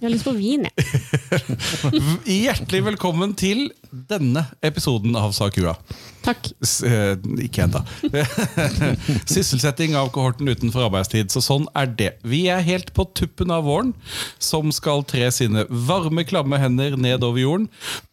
har lyst på vin, jeg. Hjertelig velkommen til denne episoden av Sakua. Takk. S eh, ikke ennå. Sysselsetting av kohorten utenfor arbeidstid. Så sånn er det. Vi er helt på tuppen av våren, som skal tre sine varme, klamme hender ned over jorden.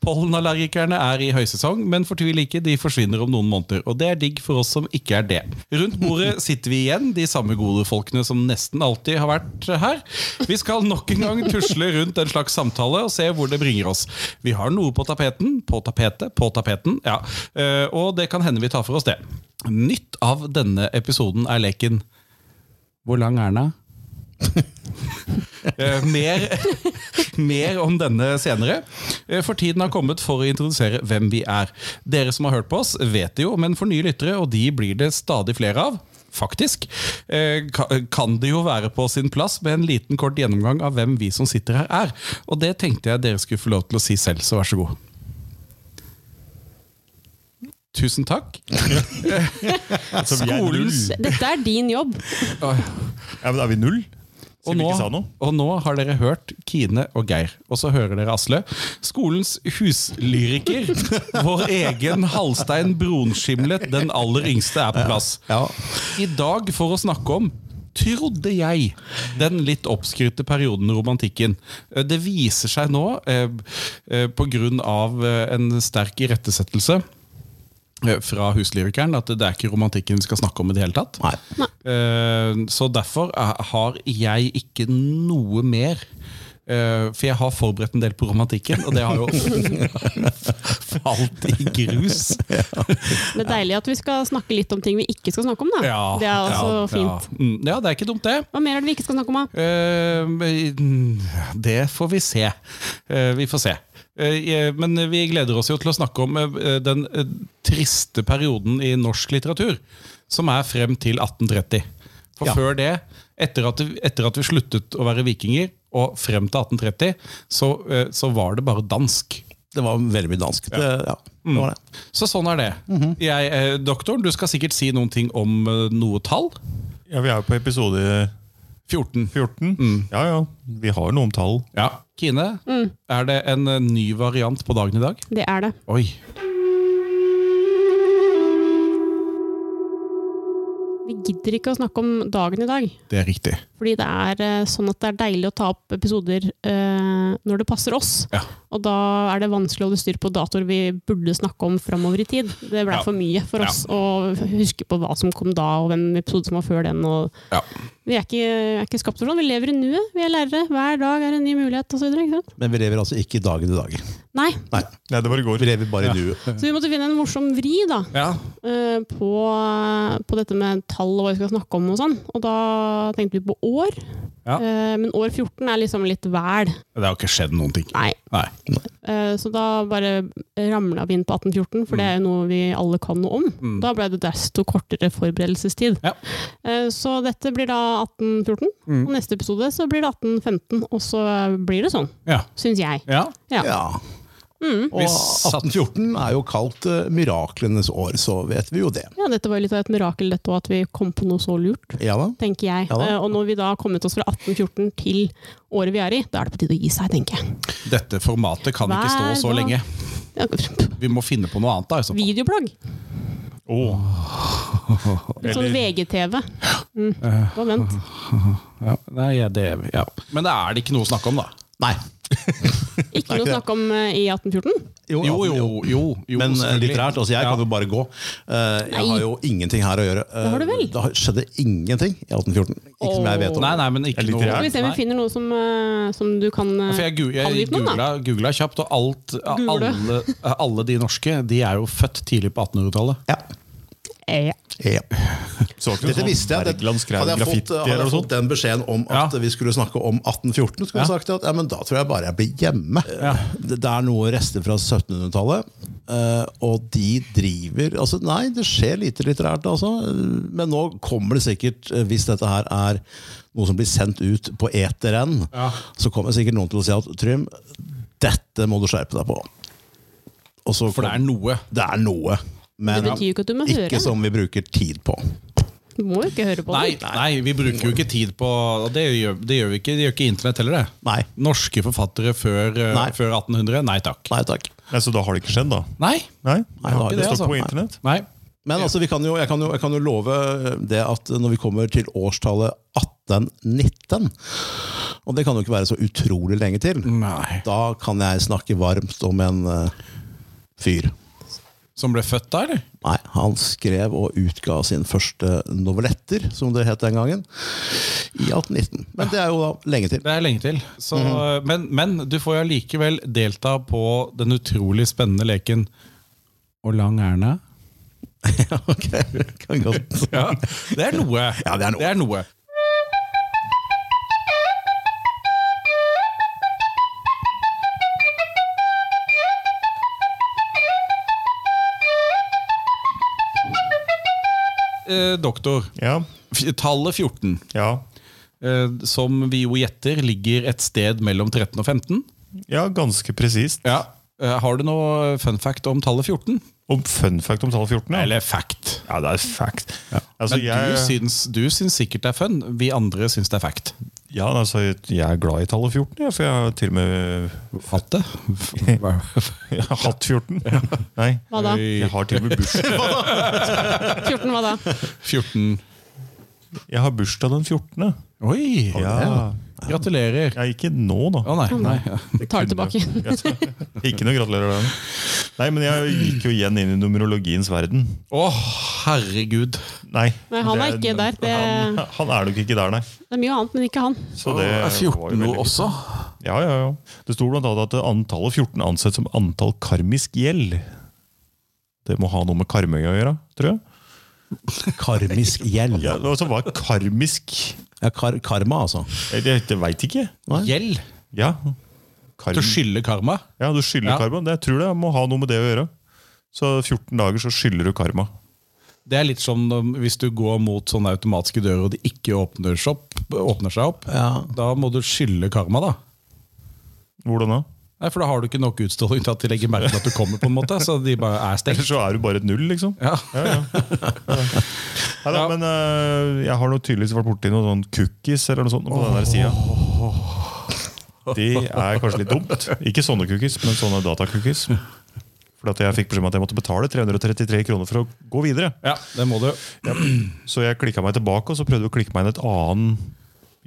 Pollenallergikerne er i høysesong, men fortvil ikke, de forsvinner om noen måneder. Og det er digg for oss som ikke er det. Rundt bordet sitter vi igjen, de samme gode folkene som nesten alltid har vært her. Vi skal nok en gang tusle rundt en slags samtale og se hvor det bringer oss. Vi har noe på tapeten, på tapetet, på tapeten. Ja. Eh, Og det kan hende vi tar for oss det. Nytt av denne episoden er leken Hvor lang er den? Eh, mer, mer om denne senere. Eh, For tiden har kommet for å introdusere hvem vi er. Dere som har hørt på oss, vet det jo, men for nye lyttere, og de blir det stadig flere av, faktisk, eh, ka- kan det jo være på sin plass med en liten kort gjennomgang av hvem vi som sitter her, er. Og det tenkte jeg dere skulle få lov til å si selv, så vær så god. Tusen takk. Skolens Dette er din jobb. Ja, men Er vi null? Og Siden vi nå, ikke sa noe? og nå har dere hørt Kine og Geir, og så hører dere Asle. Skolens huslyriker, vår egen Halstein Bronskimlet, den aller yngste, er på plass. I dag for å snakke om Trodde jeg den litt oppskrytte perioden romantikken. Eh, Det viser seg nå, eh, eh, på grunn av eh, en sterk irettesettelse eh, fra huslyrikeren, at det er ikke romantikken vi skal snakke om i det hele tatt. Nei. Eh, Så derfor er- har jeg ikke noe mer. Eh, For jeg har forberedt en del på romantikken, og det har jo falt i grus. Det er deilig at vi skal snakke litt om ting vi ikke skal snakke om, da. Ja, det er også ja, fint. Ja. Mm, ja, det er ikke dumt, det. Hva mer er det vi ikke skal snakke om, da? Eh, men, Det får vi se. Eh, Vi får se. Eh, jeg- Men vi gleder oss jo til å snakke om eh, den eh, triste perioden i norsk litteratur, som er frem til 1830. For Ja. før det, etter at, etter at vi sluttet å være vikinger, og frem til 1830, så, eh, så var det bare dansk. Det var veldig mye dansk. Mhm. Det, Eh, ja. Mm. det var det. Så sånn er det. jeg, eh, doktoren, du skal sikkert si noen ting om eh, noe tall. Ja, Vi er jo på episode 14. 14. Mm. Ja, ja. Vi har noe om tall. Ja. Kine, Mm. er det en eh, ny variant på dagen i dag? Det er det. Oi. Vi gidder ikke å snakke om dagen i dag. Det er riktig. Fordi det er eh, sånn at det er deilig å ta opp episoder eh, når det passer oss. Ja. Og da er det vanskelig å holde styr på datoer vi burde snakke om framover i tid. Det ble Ja. for mye for Ja. oss å huske på hva som kom da, og hvem episode som var før den. Og Ja. vi er ikke, er ikke skapt for sånn. Vi lever i nuet, vi er lærere. Hver dag er en ny mulighet osv. Men vi lever altså ikke i dagen i dag. Nei, Nei, Nei, det var i går. Vi lever bare i nuet. så vi måtte finne en morsom vri da, eh, på, på dette med tall og hva vi skal snakke om og sånn. Og da tenkte vi på år. Ja. Eh, Men år 14 er liksom litt væl. Det har jo ikke skjedd noen ting. Nei. Nei. Eh, Så da bare ramla vi inn på 1814, for det er jo noe vi alle kan noe om. Da ble det desto kortere forberedelsestid. Ja. Eh, Så dette blir da 1814, og neste episode så blir det 1815. Og så blir det sånn, Ja. syns jeg. Ja. Ja. Ja. Og Mm. Vi satt- 1814 er jo kalt eh, miraklenes år, så vet vi jo det. Ja, dette var jo litt av et mirakel, dette òg, at vi kom på noe så lurt. Ja da. Tenker jeg. Ja da. Eh, og når vi da har kommet oss fra 1814 til året vi er i, da er det på tide å gi seg, tenker jeg. Dette formatet kan ikke stå Hver så dag. lenge. Ja, pff, Vi må finne på noe annet. da i så fall. Videoblogg. Åh. Litt sånn Eller- VGTV. Mm. Bare vent. Ja. Nei, ja, det, ja. Men det er det ikke noe å snakke om, da. Nei. Ikke noe å snakke om eh, i 1814. Jo, jo, jo. jo, Men eh, selvfølgelig. litterært. Altså, jeg Ja. kan jo bare gå. Eh, Nei. Jeg har jo ingenting her å gjøre. Eh, Det har du vel? Det har- skjedde ingenting i 1814. Ikke som jeg vet om. Nei, nei, men ikke Er noe litterært. Skal vi se om vi Nei. finner noe som, eh, som du kan eh, For jeg, gu- jeg angripe noen, da. googla, googla kjapt, og alt, Google. alle, alle de norske de er jo født tidlig på 1800-tallet. Ja. Eh, ja. Ja. Så ikke noe Dette sånn visste jeg. Det, Wergeland skrev hadde jeg fått, eh, graffiti hadde eller jeg noe fått sånt. den beskjeden om at Ja. vi skulle snakke om 1814, skulle jeg Ja. sagt at ja, men da tror jeg bare jeg blir hjemme. Det, det er noe rester fra 1700-tallet, eh, og de driver altså Nei, det skjer lite litterært, altså. Men nå kommer det sikkert, eh, hvis dette her er noe som blir sendt ut på eteren, Ja. så kommer sikkert noen til å si at Trym, dette må du skjerpe deg på. Og så For det kom- er noe. det er noe. Men Det betyr jo ikke at du må høre. ikke som vi bruker tid på. Du må jo ikke høre på Nei, den. nei, vi bruker jo ikke tid på og Det gjør, det gjør vi ikke. Det gjør ikke internett heller, det. Nei. Norske forfattere før, eh, Nei. før 1800? Nei takk. Nei takk. Nei, så da har det ikke skjedd, da? Nei. Nei, Nei, da har det det altså. står på internett. Nei. Men altså, vi kan jo, jeg, kan jo, jeg kan jo love det at når vi kommer til årstallet 1819 Og det kan jo ikke være så utrolig lenge til. Nei. Da kan jeg snakke varmt om en eh, fyr. Som ble født da, eller? Nei, han skrev og utga sin første novelletter, som det het den gangen, i 1819. Men det er jo da lenge til. Det er lenge til. Så, men, men du får jo allikevel delta på den utrolig spennende leken Hvor lang er den? da? Ja, ok, kan godt. Ja, det er noe. Ja, det er noe. Eh, doktor, Ja, f- tallet 14, ja. eh, som vi jo gjetter, ligger et sted mellom 13 og 15. ja ganske presist. Ja. Eh, har du noe fun fact om tallet 14? Og fun fact om tall 14, ja. Eller fact. Ja, det er fact. Altså, Men jeg, du, syns, du syns sikkert det er fun, vi andre syns det er fact. ja, altså, jeg er glad i tallet 14, ja, for jeg har til og med Fatt det. jeg har hatt 14. Nei, Hva da? jeg har til og med bursdag. 14, hva da? 14. Jeg har bursdag den 14. Oi! Ja. Gratulerer. Ja, ikke nå, da. Å nei. nei. Tar det tilbake. Ikke noe gratulerer den. Nei, men jeg gikk jo igjen inn i numerologiens verden. Å, herregud. Nei. Nei, han er det- ikke der. Det, Han, han er nok ikke der, nei. det er mye annet, men ikke han. Så det var jo veldig fint. Ja, ja, ja. Det sto blant annet at antallet 14 ansett som antall karmisk gjeld. Det må ha noe med Karmøy å gjøre, tror jeg. Karmisk gjeld. Ja, og så var karmisk Ja, kar karma, altså. Jeg, jeg, jeg veit ikke. Gjeld Ja. til Karm. å skylde karma. Ja, du skylder Ja. karma. Det, jeg tror det må ha noe med det å gjøre. Så 14 dager så skylder du karma. Det er litt som om hvis du går mot sånne automatiske dører og de ikke åpner seg opp. Åpner seg opp Ja. Da må du skylde karma, da. Hvordan da? Nei, For da har du ikke nok utstråling til at de legger merke til at du kommer. på en måte Så de bare er Eller stengt. så er du bare et null, liksom. Ja. Nei da, Ja. men øh, jeg har nok tydeligvis vært borti noen sånn cookies eller noe sånt på den der sida. Det er kanskje litt dumt. Ikke sånne cookies, men sånne datacookies. Fordi at jeg fikk beskjed om at jeg måtte betale 333 kroner for å gå videre. ja, det må du. Så jeg klikka meg tilbake, og så prøvde jeg å klikke meg inn et annen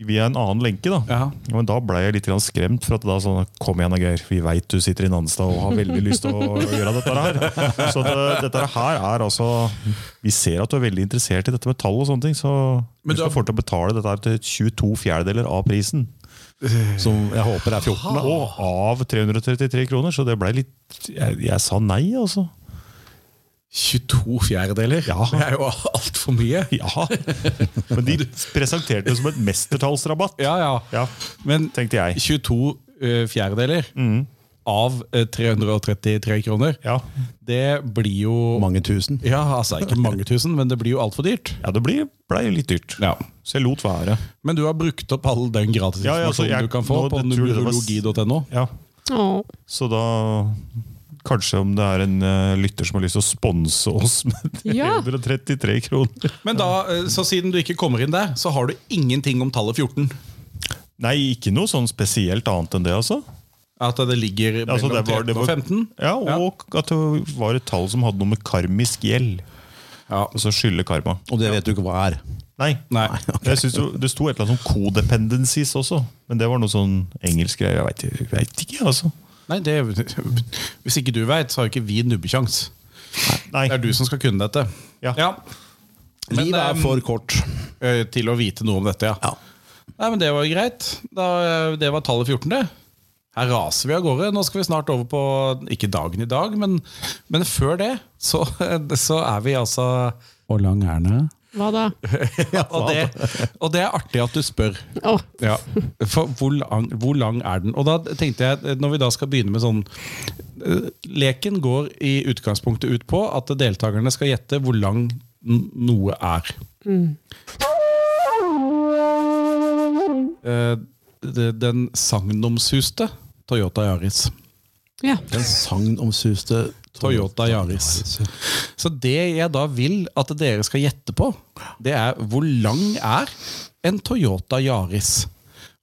via en annen lenke. da Ja. Men da ble jeg litt grann skremt. For at da sånn, Kom igjen, da, Geir. Vi veit du sitter i Nanstad og har veldig lyst til å gjøre dette her. Så det, dette her er altså Vi ser at du er veldig interessert i dette med tall og sånne ting. Så Men du du skal har- få til å betale dette her til 22 fjerdedeler av prisen. Som jeg håper er 14. da. Og av 333 kroner, så det ble litt Jeg, jeg sa nei, altså. 22 fjerdedeler? Ja. Det er jo altfor mye. Ja. Men de presenterte det som et mestertallsrabatt. Ja, ja. Ja, Men tenkte jeg. 22 eh, fjerdedeler Mm. av eh, 333 kroner, Ja, det blir jo Mange tusen. Ja, altså ikke mange tusen, men det blir jo altfor dyrt. ja det ble, ble litt dyrt. Ja. Så jeg lot være. Men du har brukt opp all den gratisinformasjonen Ja, ja, altså, jeg- du kan få nå- på jeg tror det var- numerologi.no. Ja, Åh. Så da Kanskje om det er en eh, lytter som har lyst til å sponse oss med Ja. 333 kroner. Men da, eh, så siden du ikke kommer inn der, så har du ingenting om tallet 14. Nei, ikke noe sånn spesielt annet enn det, altså. At det ligger mellom altså det var- det 13 var- og 15? Ja, Og at det var et tall som hadde noe med karmisk gjeld. Ja. Altså skylde karma. Og det vet du ikke hva er. Nei. Nei. Jeg synes jo, Det sto et eller annet om codependencies også, men det var noe sånn engelsk greie. Jeg veit ikke, jeg vet ikke, altså. Nei, det, hvis ikke du veit, så har jo ikke vi nubbekjangs. Nei. Det er du som skal kunne dette. Ja. Men, Livet ehm, er for kort. eh, til å vite noe om dette, ja. Ja. Nei, men Det var jo greit. Da, eh, det var tallet 14, det. Her raser vi av gårde. Nå skal vi snart over på ikke dagen i dag, men, men før det så, så er vi altså Hvor lang er den? Hva da? Og det, og det er artig at du spør. Åh. Ja. For hvor lang, hvor lang er den? Og da tenkte jeg, eh, når vi da skal begynne med sånn eh, Leken går i utgangspunktet ut på at deltakerne skal gjette hvor lang n- noe er. Eh, det- Den sagnomsuste Toyota Yaris. Ja. Den sagnomsuste Toyota Yaris. Så det jeg da vil at dere skal gjette på, det er hvor lang er en Toyota Yaris?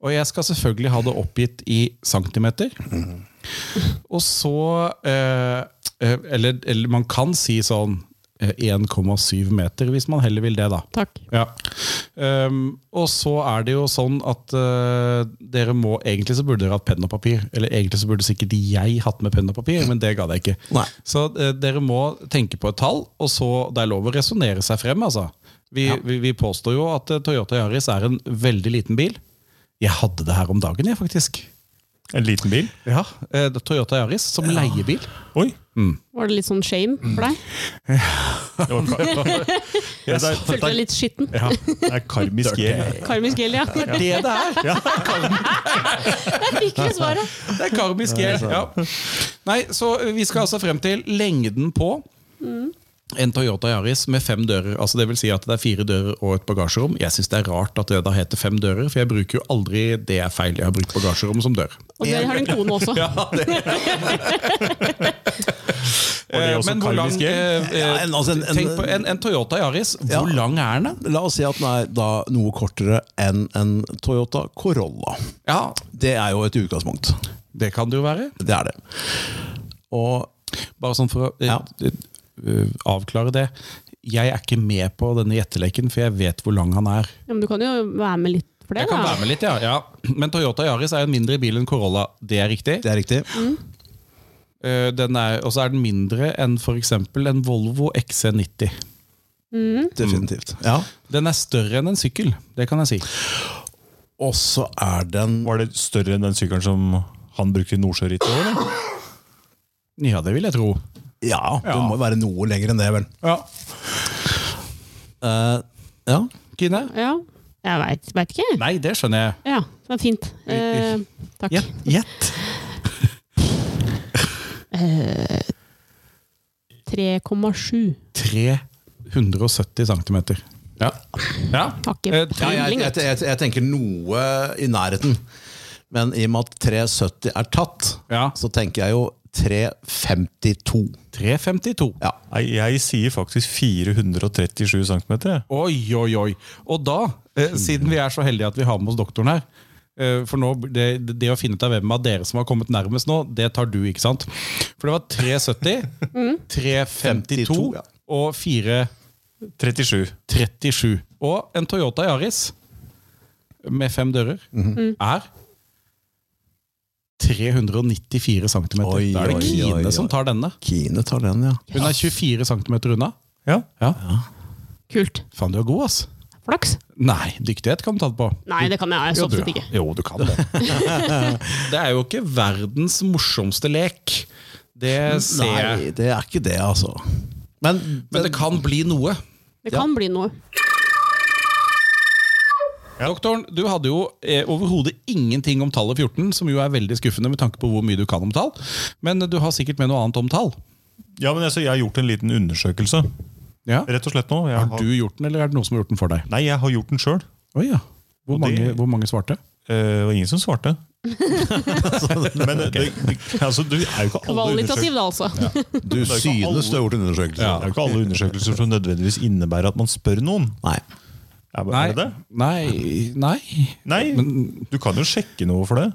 Og jeg skal selvfølgelig ha det oppgitt i centimeter. Og så eh, eh, eller, eller man kan si sånn eh, 1,7 meter, hvis man heller vil det, da. Takk. Ja. Ehm, og så er det jo sånn at eh, dere må Egentlig så burde dere hatt penn og papir. Eller egentlig så burde sikkert jeg hatt med penn og papir, men det gadd jeg ikke. Nei. Så eh, dere må tenke på et tall, og så det er lov å resonnere seg frem. altså. Vi, vi, vi påstår jo at eh, Toyota Yaris er en veldig liten bil. Jeg hadde det her om dagen, jeg, faktisk. En liten bil? Ja, eh, Toyota Yaris som leiebil. Oi! Var det litt sånn shame for deg? Det, var, ja, det, er, Følte deg litt skitten? det er karmisk gjeld. Karmisk gjeld, ja. Det er det det er! Jeg fikk det svaret. Det er karmisk gjeld. Ja. Nei, så vi skal altså frem til lengden på en Toyota Yaris med fem dører. Altså det vil si at det er fire dører og et bagasjerom. Jeg syns det er rart at det da heter fem dører, for jeg bruker jo aldri det er feil. Jeg har brukt bagasjerom som dør. Og der har din kone også. Var det Eh, også Men hvor lang karmisk gjeld? eh, eh, Ja, en- altså en- en- Tenk på en, en Toyota Yaris. Hvor Ja. lang er den, da? La oss si at den er da noe kortere enn en Toyota Corolla. Ja, Det er jo et utgangspunkt. det kan det jo være. Det er det. Og Bare sånn for å eh, Ja. eh, avklare det. Jeg er ikke med på denne gjetteleken, for jeg vet hvor lang han er. Ja, men du kan jo være med litt for det, Jeg kan være da. med litt, ja. ja. Men Toyota Yaris er en mindre bil enn Corolla. Det er riktig. det er riktig. Eh, Den er, og så er den mindre enn f.eks. en Volvo XC90. Definitivt. Mm. Ja. Den er større enn en sykkel, det kan jeg si. Og så er den Var det større enn den sykkelen som han brukte i Nordsjørittet? eller? Ja, det vil jeg tro. Ja, det må jo være noe lenger enn det, vel. Ja. Eh, ja. Kine? Ja. Jeg veit veit ikke. Nei, det skjønner jeg. Ja, det er fint. Eh, takk. Gjett. Gjett. 3,7. 370 cm. Ja. ja. Har ikke Eh, Ja, jeg, peiling. jeg, jeg, jeg tenker noe i nærheten. Men i og med at 370 er tatt, Ja. så tenker jeg jo 352. 352. Ja. Nei, jeg sier faktisk 437 cm. Oi, oi, oi. Og da, eh, siden vi er så heldige at vi har med oss doktoren her eh, For nå, det, det å finne ut av hvem av dere som har kommet nærmest nå, det tar du, ikke sant? For det var 370, 352 52, Mm. ja. og 437. 37. Og en Toyota Yaris med fem dører Mhm. Mm. er 394 cm. Oi, Da er det oi, Kine oi, oi. som tar denne. Kine tar den, ja. Hun er 24 cm unna. Ja. Ja. Kult. Faen, du er god, ass. Flaks. Nei, dyktighet kan du ta det på. Nei, det kan jeg Jo, du- absolutt sånn ikke. Jo, du kan det. det er jo ikke verdens morsomste lek. Det ser jeg. Nei, det er ikke det, altså. Men, Men det kan bli noe. Det kan bli noe. Doktoren, du hadde jo eh, overhodet ingenting om tallet 14, som jo er veldig skuffende med tanke på hvor mye du kan om tall. Men du har sikkert med noe annet om tall. ja, men altså, Jeg har gjort en liten undersøkelse. Ja. Rett og slett nå. Jeg Har har, du gjort den, eller er det noen som har gjort den for deg? nei, jeg har gjort den sjøl. Å ja. Hvor Og det- mange, hvor mange svarte? Det var Eh, ingen som svarte. Men eh, det, det, altså, du er jo ikke alle Kvalitativ, da, altså. er jo du ikke alle- synes du har gjort en undersøkelse. Det er jo ikke alle undersøkelser som nødvendigvis innebærer at man spør noen. Nei. Er, er Nei. det det? Nei. Nei. Nei, du kan jo sjekke noe for det.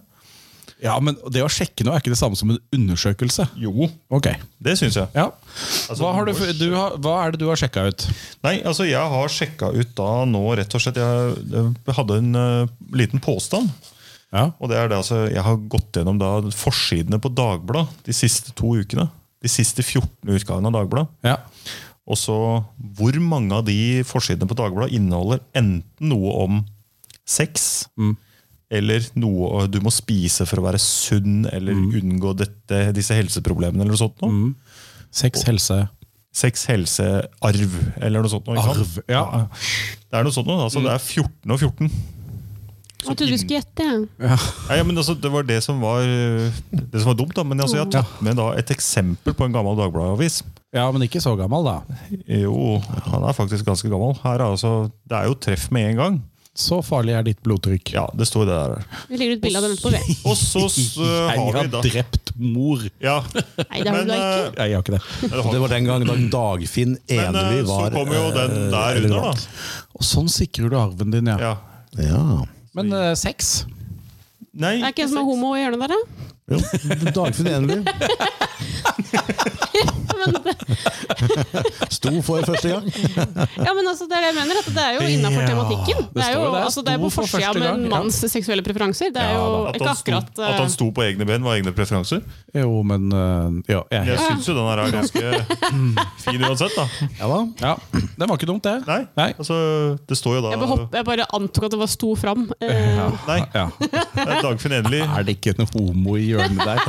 Ja, men det å sjekke noe er ikke det samme som en undersøkelse. Jo. Ok. Det syns jeg. Ja. Altså, Hva, har du, du har, hva er det du har sjekka ut? Nei, altså jeg har sjekka ut da nå, rett og slett Jeg, jeg hadde en eh, liten påstand. Ja. Og det er det altså Jeg har gått gjennom da forsidene på Dagbladet de siste to ukene. De siste 14 utgavene av Dagbladet. Ja. Og så hvor mange av de forsidene på Dagbladet inneholder enten noe om sex, eller noe du må spise for å være sunn, eller unngå dette, disse helseproblemene, eller noe sånt. Noe. Sex, helse Sex, helse, arv, eller noe sånt. Noe, ikke sant? Arv, ja. Det er noe sånt noe. Altså, Det er 14 og 14. Jeg trodde du skulle gjette. jeg. Nei, ja, men altså, det var det som var, øh, det som var dumt, da. Men altså, jeg har tatt med da et eksempel på en gammel Dagbladet-avis. Ja, men ikke så gammel, da. Jo, han er faktisk ganske gammel. Her er altså, det er jo treff med en gang. Så farlig er ditt blodtrykk. Ja, det står det der. Vi legger ut bilde av den på det. Og så s- Jeg har har vi da drept mor. Ja, Nei, det har men, du da eh, ikke. Nei, jeg har ikke det. det Og har- det var den gangen da Dagfinn men Enevi eh, så var kommer jo den der eh, under, da. relevant. Og sånn sikrer du arven din, ja. Ja. Ja. Men eh, sex? Nei, Er det ikke en som er homo i hjørnet der, da? Jo, Dagfinn Enevi. Men, Sto for første gang. ja, men altså, det er det jeg mener, at det er jo Ja, innafor tematikken. det Det er jo står der, altså, det er sto på for forsida første med en gang, ja. manns seksuelle preferanser. Det er Ja, jo da. At ikke han, sto, akkurat eh, at han sto på egne ben, var egne preferanser. Jo, men eh, Ja, jeg er Jeg helt syns jo den her er ganske fin uansett, da. Ja da. ja, Det var ikke dumt, det. Nei, altså det står jo da Jeg bare, hopp, jeg bare antok at det var sto fram. Eh, Ja. Nei, Ja. det er Dagfinn Endelig. Er det ikke en homo i hjørnet der?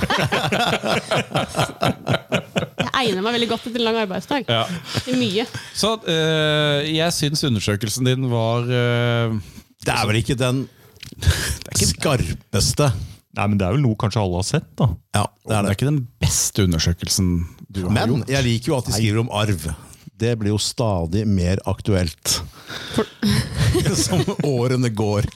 jeg egner meg veldig godt til en lang arbeidsdag. Ja. Til mye. Så eh, jeg syns undersøkelsen din var eh, Det er vel ikke den skarpeste Nei, men det er vel noe kanskje alle har sett, da. Ja, det er Det er det. ikke den beste undersøkelsen du har Men gjort. jeg liker jo at de skriver om arv. Det blir jo stadig mer aktuelt som årene går.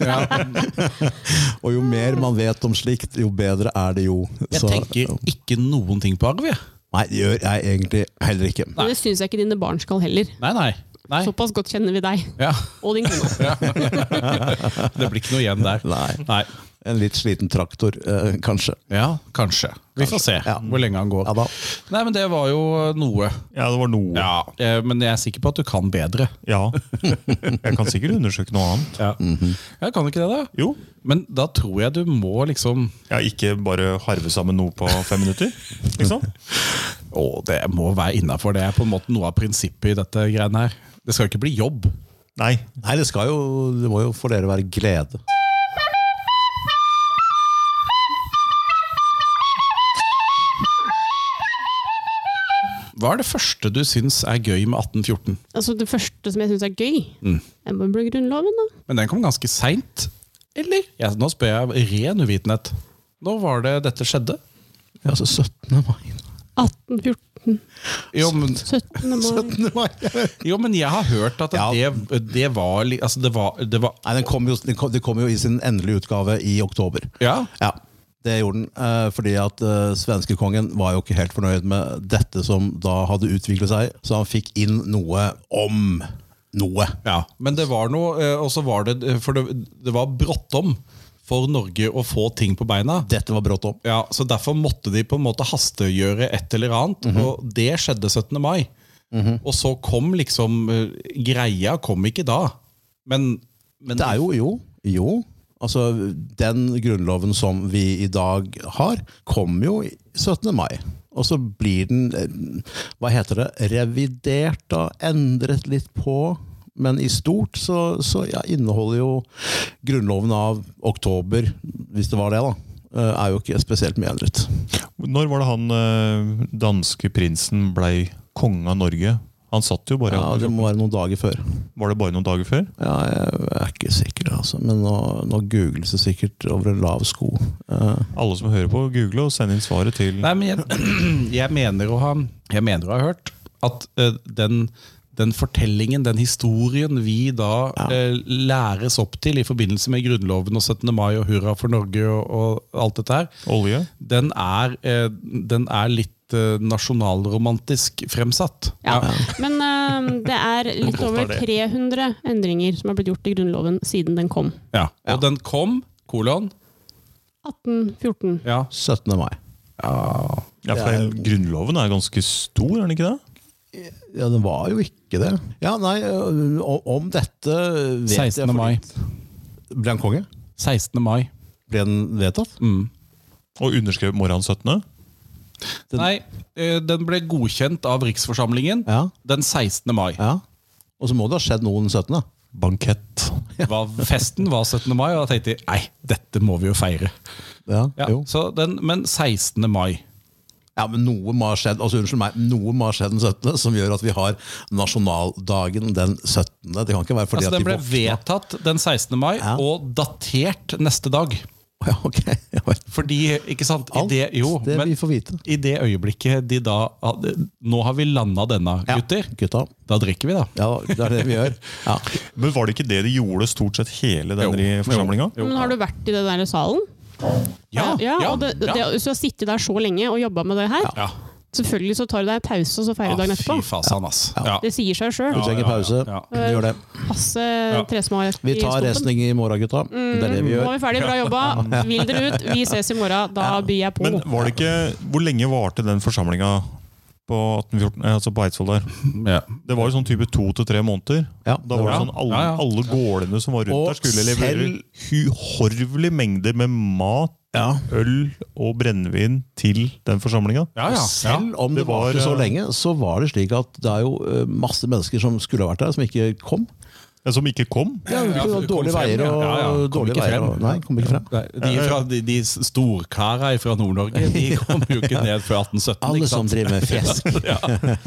Og jo mer man vet om slikt, jo bedre er det jo. Jeg tenker ikke noen ting på arv, jeg. Nei, det gjør jeg egentlig heller ikke. Men det syns jeg ikke dine barn skal heller. Nei, nei. nei. Såpass godt kjenner vi deg. Ja. Og din kone. Det blir ikke noe igjen der. Nei. Nei. En litt sliten traktor, eh, kanskje. Ja, kanskje. Vi får se Ja. hvor lenge han går. Ja da. Nei, men det var jo noe. Ja, det var noe. Ja. Eh, Men jeg er sikker på at du kan bedre. Jeg kan sikkert undersøke noe annet. Ja. Mhm. Jeg kan ikke det, da. Jo. Men da tror jeg du må liksom Ja, ikke bare harve sammen noe på fem minutter. Liksom. Å, det må være innafor. Det er på en måte noe av prinsippet i dette greiene her. Det skal jo ikke bli jobb. Nei. Nei, det, skal jo, det må jo for dere være glede. Hva er det første du syns er gøy med 1814? Altså, det første som jeg syns er gøy, Mm. det må bli Grunnloven, da. Men den kom ganske seint, eller? Ja, nå spør jeg av ren uvitenhet. Når var det dette skjedde? Ja, altså 17. mai. 1814. Jo, men, 17. Sånn. mai. 17. mai. jo, men jeg har hørt at Ja. det, det var li- Altså, det var, det var Nei, den kom, jo, den, kom, den kom jo i sin endelige utgave i oktober. Ja. Ja, det gjorde den. eh, Fordi at eh, svenskekongen var jo ikke helt fornøyd med dette som da hadde utviklet seg, så han fikk inn noe om noe. ja. Men det var noe eh, Og så var det For det, det var bråttom for Norge å få ting på beina. Dette var brått om. Ja, så Derfor måtte de på en måte hastegjøre et eller annet, og det skjedde 17. mai. Og så kom liksom eh, Greia kom ikke da, men, men Det er jo, jo, jo. Altså, den grunnloven som vi i dag har, kom jo i 17. mai. Og så blir den, eh, hva heter det, revidert da, endret litt på. Men i stort så, så ja, inneholder jo grunnloven av oktober, hvis det var det da, eh, er jo ikke spesielt mye endret. Når var det han eh, danske prinsen blei konge av Norge? Han satt jo bare Ja, det må være noen dager før. Var det bare noen dager før? Ja, jeg er ikke sikker, altså. Men nå, nå googles det sikkert over en lav sko. Eh, Alle som hører på, google og send inn svaret til Nei, men jeg, jeg, mener å ha, jeg mener å ha hørt at eh, den, den fortellingen, den historien vi da eh, læres opp til i forbindelse med Grunnloven og 17. mai og Hurra for Norge og, og alt dette her, olje. den er, eh, den er litt eh, nasjonalromantisk fremsatt. Ja. Men eh, det er litt over Påstår det. 300 endringer som er blitt gjort i Grunnloven siden den kom. Ja. Og den kom, kolon, 1814. ja. 17. mai. Ja, for det er- Grunnloven er ganske stor, er den ikke det? Ja, den var jo ikke det. Ja, nei, ø, o- om dette vet 16. jeg for mai. litt. Ble han konge? 16. mai. Mm. Ble den vedtatt? Og underskrevet morgenen 17. Den- Nei, eh, den ble godkjent av Riksforsamlingen Ja. den 16. mai. Ja. Og så må det ha skjedd noe den 17. Bankett. Var- festen var 17. mai, og da tenkte jeg nei, dette må vi jo feire. Ja, Ja, jo. så den, men 16. mai. ja, men noe må ha skjedd altså unnskyld meg, noe må ha skjedd den 17. som gjør at vi har nasjonaldagen den 17. Det kan ikke være Altså, fordi at den de ble våkna. vedtatt den 16. mai Ja. og datert neste dag. Ja, ok. Ja, vel. Fordi, ikke sant I Alt det, jo, det men vi får vite. i det øyeblikket de da hadde, Nå har vi landa denne, gutter. Gutta. Da drikker vi, da. Ja, det er det vi gjør. Ja. Men var det ikke det de gjorde stort sett hele Jo, denne jo. forsamlinga? Jo. Men har du vært i den der salen? og det, det, Hvis du har sittet der så lenge og jobba med det her, Ja. Ah, selvfølgelig så tar du deg en pause, og så feirer du dagen fy etterpå. fasan, ass. Ja. Det sier seg sjøl. Du trenger pause. Ja, Vi gjør det. Passe tresmak Vi i tar stumpen. resning i morgen, gutta. Det er det vi Nå gjør. er vi ferdig, bra jobba. Vil dere ut? Vi ses i morgen. Da byr jeg på. Men var det ikke, hvor lenge varte den forsamlinga på, 1814, eh, altså på Eidsvoll der? Ja. Det var jo sånn type to til tre måneder. Ja, da var det var sånn det. alle, Ja, ja. alle gårdene som var rundt Og der, skulle levere selv- uhorvelige mengder med mat, Ja. øl og brennevin til den forsamlinga. Ja, ja. Selv om det, Det var, varte så eh, lenge, så var det slik at det er jo eh, masse mennesker som skulle ha vært der, som ikke kom. Ja, Som ikke kom. Ja, ja, for det kom dårlige frem, veier og ja. Ja, ja, kom dårlige ikke veier. frem. Og, nei, kom ikke frem. Nei, De, fra, de, de storkara fra Nord-Norge De kom jo ikke ned før 1817. Alle ikke som sant? driver med fjesk.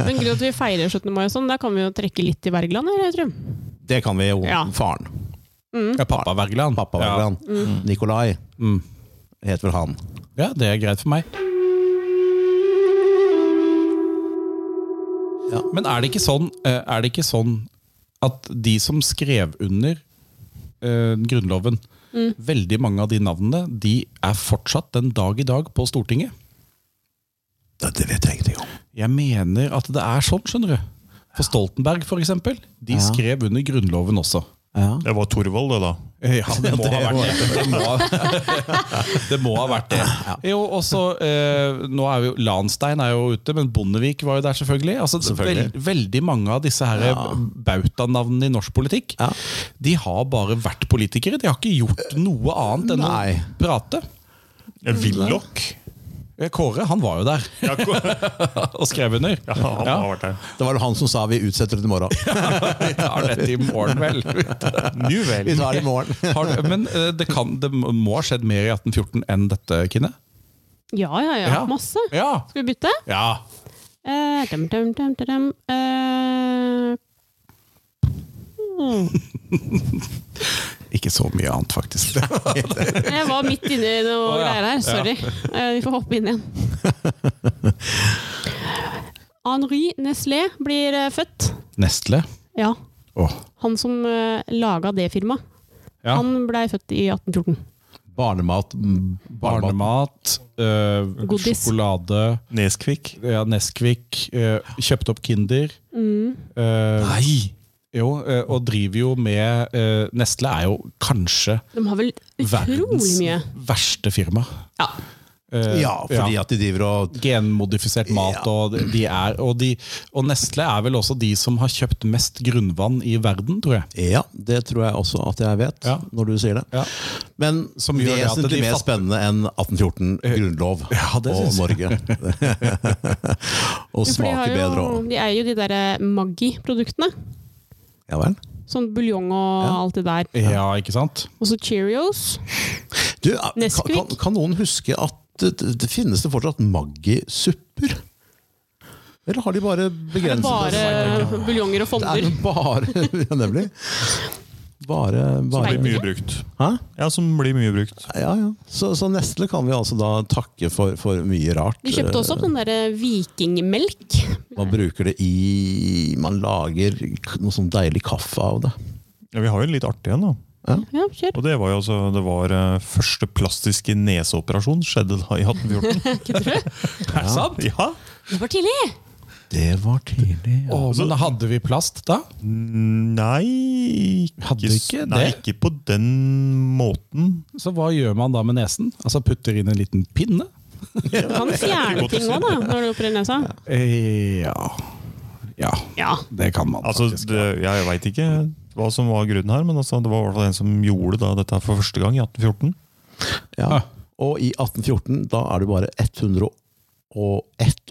Men grunnen til at vi feirer 17. mai, og sånn, der kan vi jo trekke litt i Wergeland. eller, Jeg tror. Det kan vi jo. Ja. Faren. Ja, pappa Wergeland. Pappa Wergeland. Nikolai heter vel han. Ja. ja, det er greit for meg. Ja. Men er det ikke sånn, eh, er det ikke sånn at de som skrev under eh, Grunnloven, veldig mange av de navnene, de er fortsatt den dag i dag på Stortinget? Det vet jeg ingenting om. Jeg mener at det er sånn, skjønner du. For Stoltenberg, for eksempel, de Ja. skrev under Grunnloven også. Ja. Det var Thorvald, det, da. Ja, det må det ha vært det. Det må, det må ha vært det. Jo, også, eh, nå er jo Lanstein er jo ute, men Bondevik var jo der, selvfølgelig. Altså, Selvfølgelig. Vel, veldig mange av disse her bautanavnene i norsk politikk Ja. De har bare vært politikere. De har ikke gjort noe annet enn Nei. å prate. Willoch. Eh, Kåre han var jo der Ja, ko- ja, og skrev under. han Ja. har vært der. Det var jo han som sa vi utsetter det til i morgen. Vi tar dette i morgen, vel. Nu Vi vel. tar det i morgen. Har du, men eh, det, kan, det må ha skjedd mer i 1814 enn dette, Kine? Ja, ja, ja. Ja. Masse. Ja. Skal vi bytte? ja. Eh, dum, dum, dum, dum, dum. Eh, hmm. Ikke så mye annet, faktisk. jeg var midt inne i noe Å, ja. greier her. Sorry. Eh, vi får hoppe inn igjen. Henri Nestlé blir eh, født. Nestle. Ja. Åh. Han som uh, laga det firmaet. Ja. Han blei født i 1814. Barnemat. mm, barnemat. Barnemat, eh, Godis. sjokolade, Neskvik. ja, Nesquik, eh, kjøpte opp Kinder. Mm. Eh, Nei! jo, eh, og driver jo med eh, Nestle er jo kanskje De har vel utrolig verdens mye. verste firma. Ja. Eh, Ja, fordi at de driver og Genmodifisert mat, Ja. og, de er, og, de, og Nestle er vel også de som har kjøpt mest grunnvann i verden, tror jeg. Ja, det tror jeg også at jeg vet, Ja. når du sier det. Ja. Men Som gjør det at vesentlig de mer fatter- spennende enn 1814, grunnlov Ja, det og synes Norge. og For de, har smaker bedre jo, òg. de eier jo de der eh, Maggi-produktene. Ja vel. Sånn buljong og Ja. alt det der. Ja, ikke sant? Og så Cheerios. Du, kan, Nesquik. kan, kan noen huske at det, det- det finnes det fortsatt Maggi-supper? Eller har de bare Det er begrenset bare buljonger og Det er fonder. jo bare ja, Nemlig. Bare, bare. Blir mye brukt. Hæ? Ja, som blir mye brukt. Ja, ja. Så, så Nestle kan vi altså da takke for, for mye rart. De kjøpte også opp den der eh, vikingmelk. Man bruker det i Man lager noe sånn deilig kaffe av det. Ja, vi har jo en litt artig en, da. Ja, kjør. Og det var jo altså, det var eh, første plastiske neseoperasjon skjedde da i 1814. Er det sant? ja. Det var tidlig! Det var tidlig. Ja. Åh, men hadde vi plast da? Nei ikke, Hadde ikke Nei, det? ikke på den måten. Så hva gjør man da med nesen? Altså putter inn en liten pinne? Du kan fjerne ting òg, da, når du opererer nesa. Eh, ja. Ja, Ja. det kan man Altså, faktisk. det, jeg veit ikke hva som var grunnen her, men altså, det var i hvert fall en som gjorde da, dette her for første gang i 1814. Ah. Og i 1814, da er det bare 101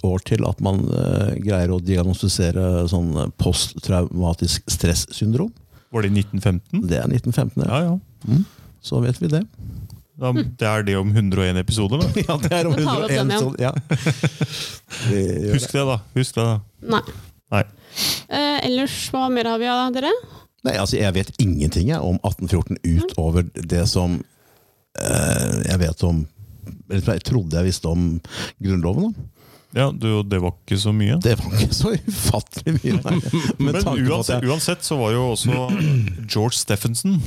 år til at man eh, greier å diagnostisere sånn posttraumatisk stressyndrom. Var det i 1915? Det er 1915, ja. Ja, ja. så vet vi det. Da, det er det om 101 episoder, da. Ja, det er Da tar vi opp den igjen. sånn, ja. Vi gjør det. Husk det, da. Husk det, da. Nei. Nei. Eh, ellers, hva mer har vi av dere? Nei, altså Jeg vet ingenting jeg, om 1814 utover det som eh, jeg vet om eller jeg trodde jeg visste om Grunnloven. Da. Ja, du, Det var ikke så mye. Det var ikke så ufattelig mye. nei. Med Men tanke på at uansett, jeg- uansett så var jo også George Steffensen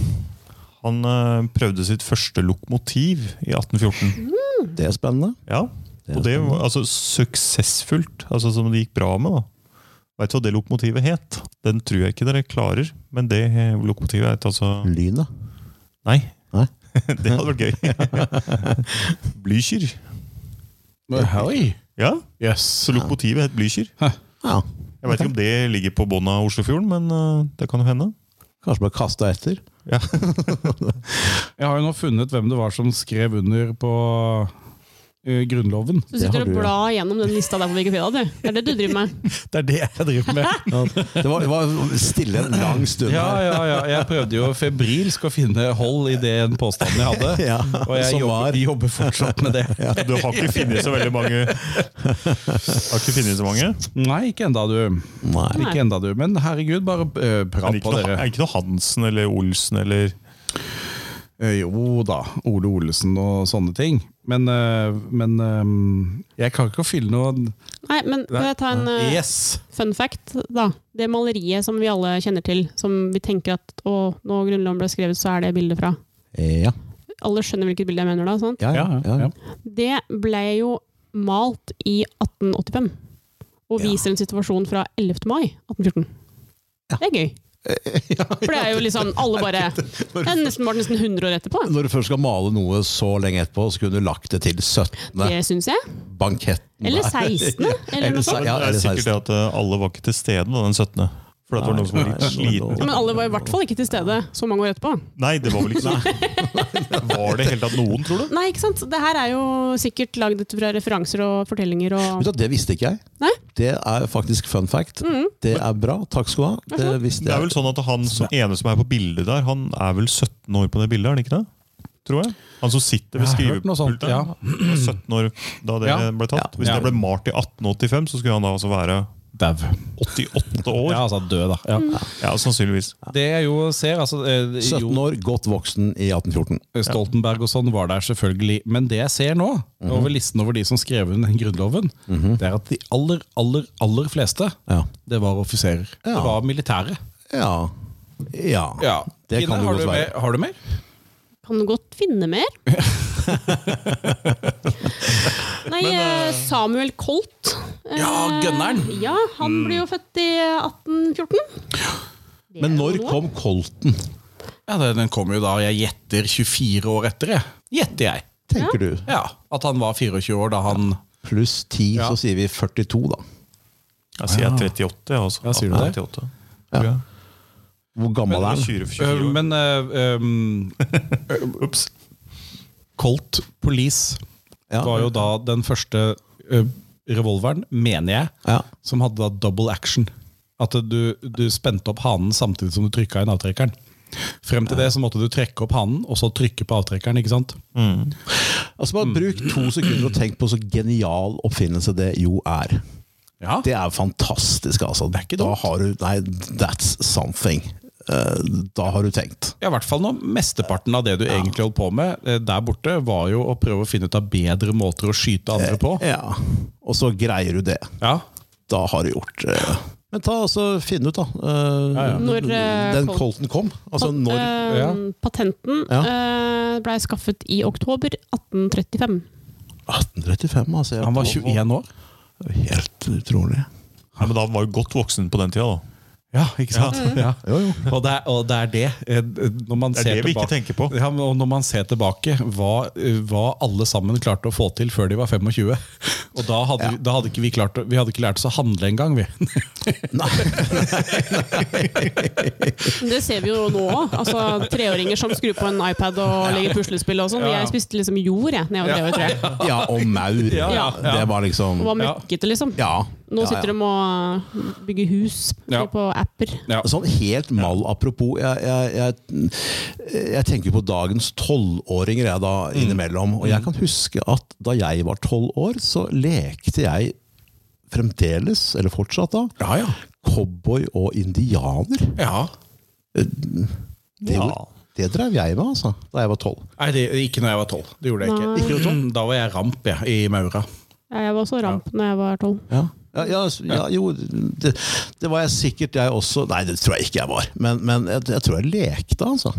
Han eh, prøvde sitt første lokomotiv i 1814. Det er spennende. Ja, Det er Og det var altså suksessfullt, altså som det gikk bra med. da Veit du hva det lokomotivet het? Den tror jeg ikke dere klarer. Men det eh, lokomotivet het altså Lynet. Nei. Nei. Det hadde vært gøy. Blücher. Oi! Ja, Yes. så lokomotivet het Blücher. Ja, Jeg veit ikke om det ligger på bunnen av Oslofjorden, men eh, det kan jo hende. kanskje ble kasta etter. Ja. Jeg har jo nå funnet hvem det var som skrev under på eh, Grunnloven. Du sitter har og du, ja. blar gjennom den lista der på Wikipedia, du. Det er det du driver med. Det er det jeg driver med. Ja, det, var, det var stille en lang stund. Ja, her. ja, ja. Jeg prøvde jo febrilsk å finne hold i den påstanden jeg hadde. Ja, og jeg som var. jobber, jobber fortsatt med det. Du har ikke funnet så veldig mange Har ikke funnet så mange? Nei, ikke enda du. Nei. Ikke enda du. Men herregud, bare eh, Men prat ikke på noe, dere. er ikke noe Hansen eller Olsen eller Eh, jo da, Ole Olesen og sånne ting. Men, eh, men eh, jeg kan ikke å fylle noe Nei, men kan jeg ta en eh, Yes! fun fact, da? Det maleriet som vi alle kjenner til, som vi tenker at å, når Grunnloven ble skrevet, så er det bildet fra. Ja. Alle skjønner hvilket bilde jeg mener da, sant? Ja, ja, Ja, ja, ja. ja. Det ble jo malt i 1885, og Ja. viser en situasjon fra 11. mai 1814. Det er gøy. For det er jo liksom alle bare Det er nesten, var nesten 100 år etterpå. Når du først skal male noe så lenge etterpå, så kunne du lagt det til 17. Det syns jeg. banketten. Eller der. 16. Eller Eller noe se- sånt. ja, Det er eller sikkert det 16. at eh, alle var ikke til stede da, den 17. For at det var noen som var litt Nei, sliten. Men alle var i hvert fall ikke til stede så mange år etterpå. Nei, det var vel ikke sånn. Var det i hele tatt noen, tror du? Nei, ikke sant? Det her er jo sikkert lagd ut fra referanser og fortellinger Vet du og hva, Det visste ikke jeg. Nei? Det er faktisk fun fact. Mm. Det er bra. Takk skal du ha. Det visste Det er jeg. vel sånn at han som ene som er på bildet der, han er vel 17 år på det bildet, er han ikke det? Tror jeg. Han som sitter ved Jeg har hørt noe sånt, skrivepulten. ja. var 17 år da det Ja. ble tatt. Ja. Hvis Ja. det ble malt i 1885, så skulle han da altså være Dau. 88 år. Ja, Ja, altså død, da. Ja. sannsynligvis. Det jeg jo ser, altså eh, 17 år, godt voksen i 1814. Stoltenberg og sånn var der selvfølgelig, men det jeg ser nå, over listen over de som skrev under den grunnloven, det er at de aller, aller, aller fleste, Ja. det var offiserer. Ja. Det var militære. Ja. ja. Det Kine, kan det har, godt du være. mer, har du mer? Kan du godt finne mer? Nei, eh, Samuel Colt. eh, Ja, gunneren. Ja, han ble jo født i 1814. Det Mm. Men er når jo noe. kom Colton, Ja, det- Den kom jo da, jeg gjetter 24 år etter, jeg. Gjetter jeg. tenker du? Ja, At han var 24 år da han Pluss 10, Ja. så sier vi 42, da. Jeg sier 38, jeg altså. Ja, sier du det? 1838. Ja. Ja. Hvor gammel er Men han? 24, 24 Øh, år. Eh, Men øh, øhm, Ups. Colt Police Ja. var jo da den første øh, revolveren, mener jeg, Ja. som hadde da double action. At du, du spente opp hanen samtidig som du trykka inn avtrekkeren. Frem til det så måtte du trekke opp hanen og så trykke på avtrekkeren. ikke sant? Mm. Altså bare Bruk to sekunder og tenk på så genial oppfinnelse det jo er. Ja, Det er fantastisk, altså. Det er ikke da har du, nei, that's something. Eh, Da har du tenkt. Ja, i hvert fall nå, Mesteparten av det du egentlig holdt på med eh, der borte, var jo å prøve å finne ut av bedre måter å skyte andre på. Ja. Og så greier du det. Ja, Da har du gjort eh. Men ta altså, finn ut, da. eh, Når, eh, den Col- Colton kom. Altså når Eh, Ja. Patenten Ja. eh, blei skaffet i oktober 1835. 1835, altså. jeg- Han var 21 år. Helt utrolig. Ja, men da var jo godt voksen på den tida, da. Ja, ikke sant? Ja. Jo, jo. Og, det er, og det er det eh, når man Det er ser det vi ikke tilbake, tenker på. Ja, men- og når man ser tilbake hva, eh, hva alle sammen klarte å få til før de var 25. Og da hadde, vi- da hadde ikke vi klart å- Vi hadde ikke lært oss å handle engang, vi. Men Det ser vi jo nå òg. Altså, treåringer som skrur på en iPad og legger puslespill og sånn. Ja, ja. Jeg spiste liksom jord jeg, da jeg var tre år, tror jeg. Ja, og maur. Ja, ja, ja. Det var liksom Og var Ja. møkkete, liksom. Ja. Nå ja, ja. sitter de og eh, bygger hus Ja. på apper. Ja. Sånn helt mal apropos Jeg, jeg, jeg, jeg tenker på dagens tolvåringer jeg da Mm. innimellom. Og jeg kan huske at da jeg var tolv år, så lekte jeg fremdeles, eller fortsatt da, Ja, ja. cowboy og indianer. ja. Det Ja. gjorde Det drev jeg med altså, da jeg var tolv. Nei, det, ikke når jeg var tolv. Det gjorde jeg ikke. Nei. Ikke Da var jeg ramp jeg, i Maura. Ja, Jeg var også ramp når jeg var tolv. Ja. Ja, ja, s- ja, jo, det, det var jeg sikkert, jeg også. Nei, det tror jeg ikke jeg var. Men, men jeg, jeg tror jeg lekte, altså.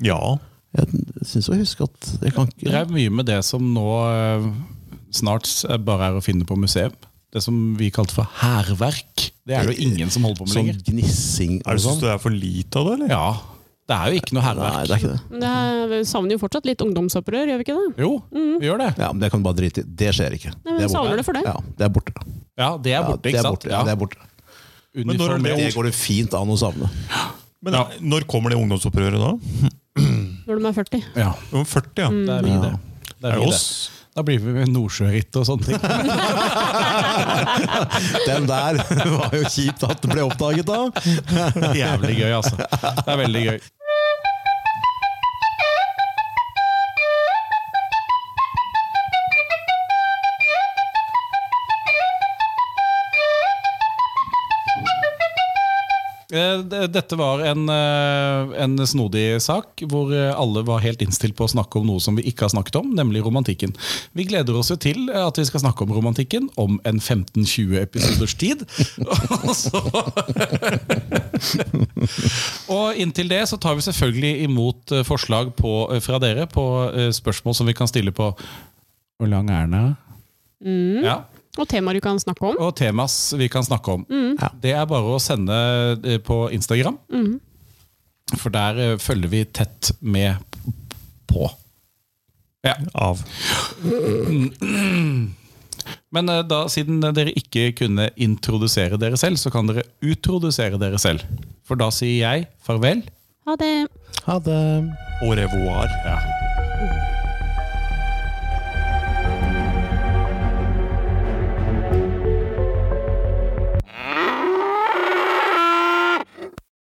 Ja. Jeg syns å huske at jeg kan ikke Drev mye med det som nå eh, snart s- bare er å finne på museum. Det som vi kalte for hærverk. Det er det jo ingen som holder på med Sånn lenger. gnissing Er og det Syns sånn. du det er for lite av det, eller? Ja, Det er jo ikke noe Nei, hærverk. det er ikke det. Men Det er, vi savner jo fortsatt litt ungdomsopprør, gjør vi ikke det? Jo, vi gjør det. Ja, men det kan du bare drite i. Det skjer ikke. Nei, men Det er borte. savner det for det. Ja, det er borte. Ja, det er Ja, borte, det ikke er sant? borte. Ja, det er borte. Men når er det- Det går det fint an å savne. Men eh, Når kommer det ungdomsopprøret da? Når de er 40. Ja, Om 40, ja. det er vi, det. Mm. Det Er er det vi oss? det. Da blir vi med nordsjøritt og sånne ting. Den der var jo kjipt at det ble oppdaget da. Jævlig gøy, altså. Det er veldig gøy. Eh, d- Dette var en, eh, en snodig sak hvor eh, alle var helt innstilt på å snakke om noe som vi ikke har snakket om, nemlig romantikken. Vi gleder oss jo til eh, at vi skal snakke om romantikken om en 15-20 episoders tid. Og så og inntil det så tar vi selvfølgelig imot eh, forslag på, eh, fra dere på eh, spørsmål som vi kan stille på Hvor lang er den? da? Ja. Og temaer du kan snakke om. Og temas vi kan snakke om. Ja. Det er bare å sende eh, på Instagram. For der eh, følger vi tett med på. Ja. Av. Men eh, da, siden dere ikke kunne introdusere dere selv, så kan dere utrodusere dere selv. For da sier jeg farvel. Ha det! Ha det. Au revoir. Ja.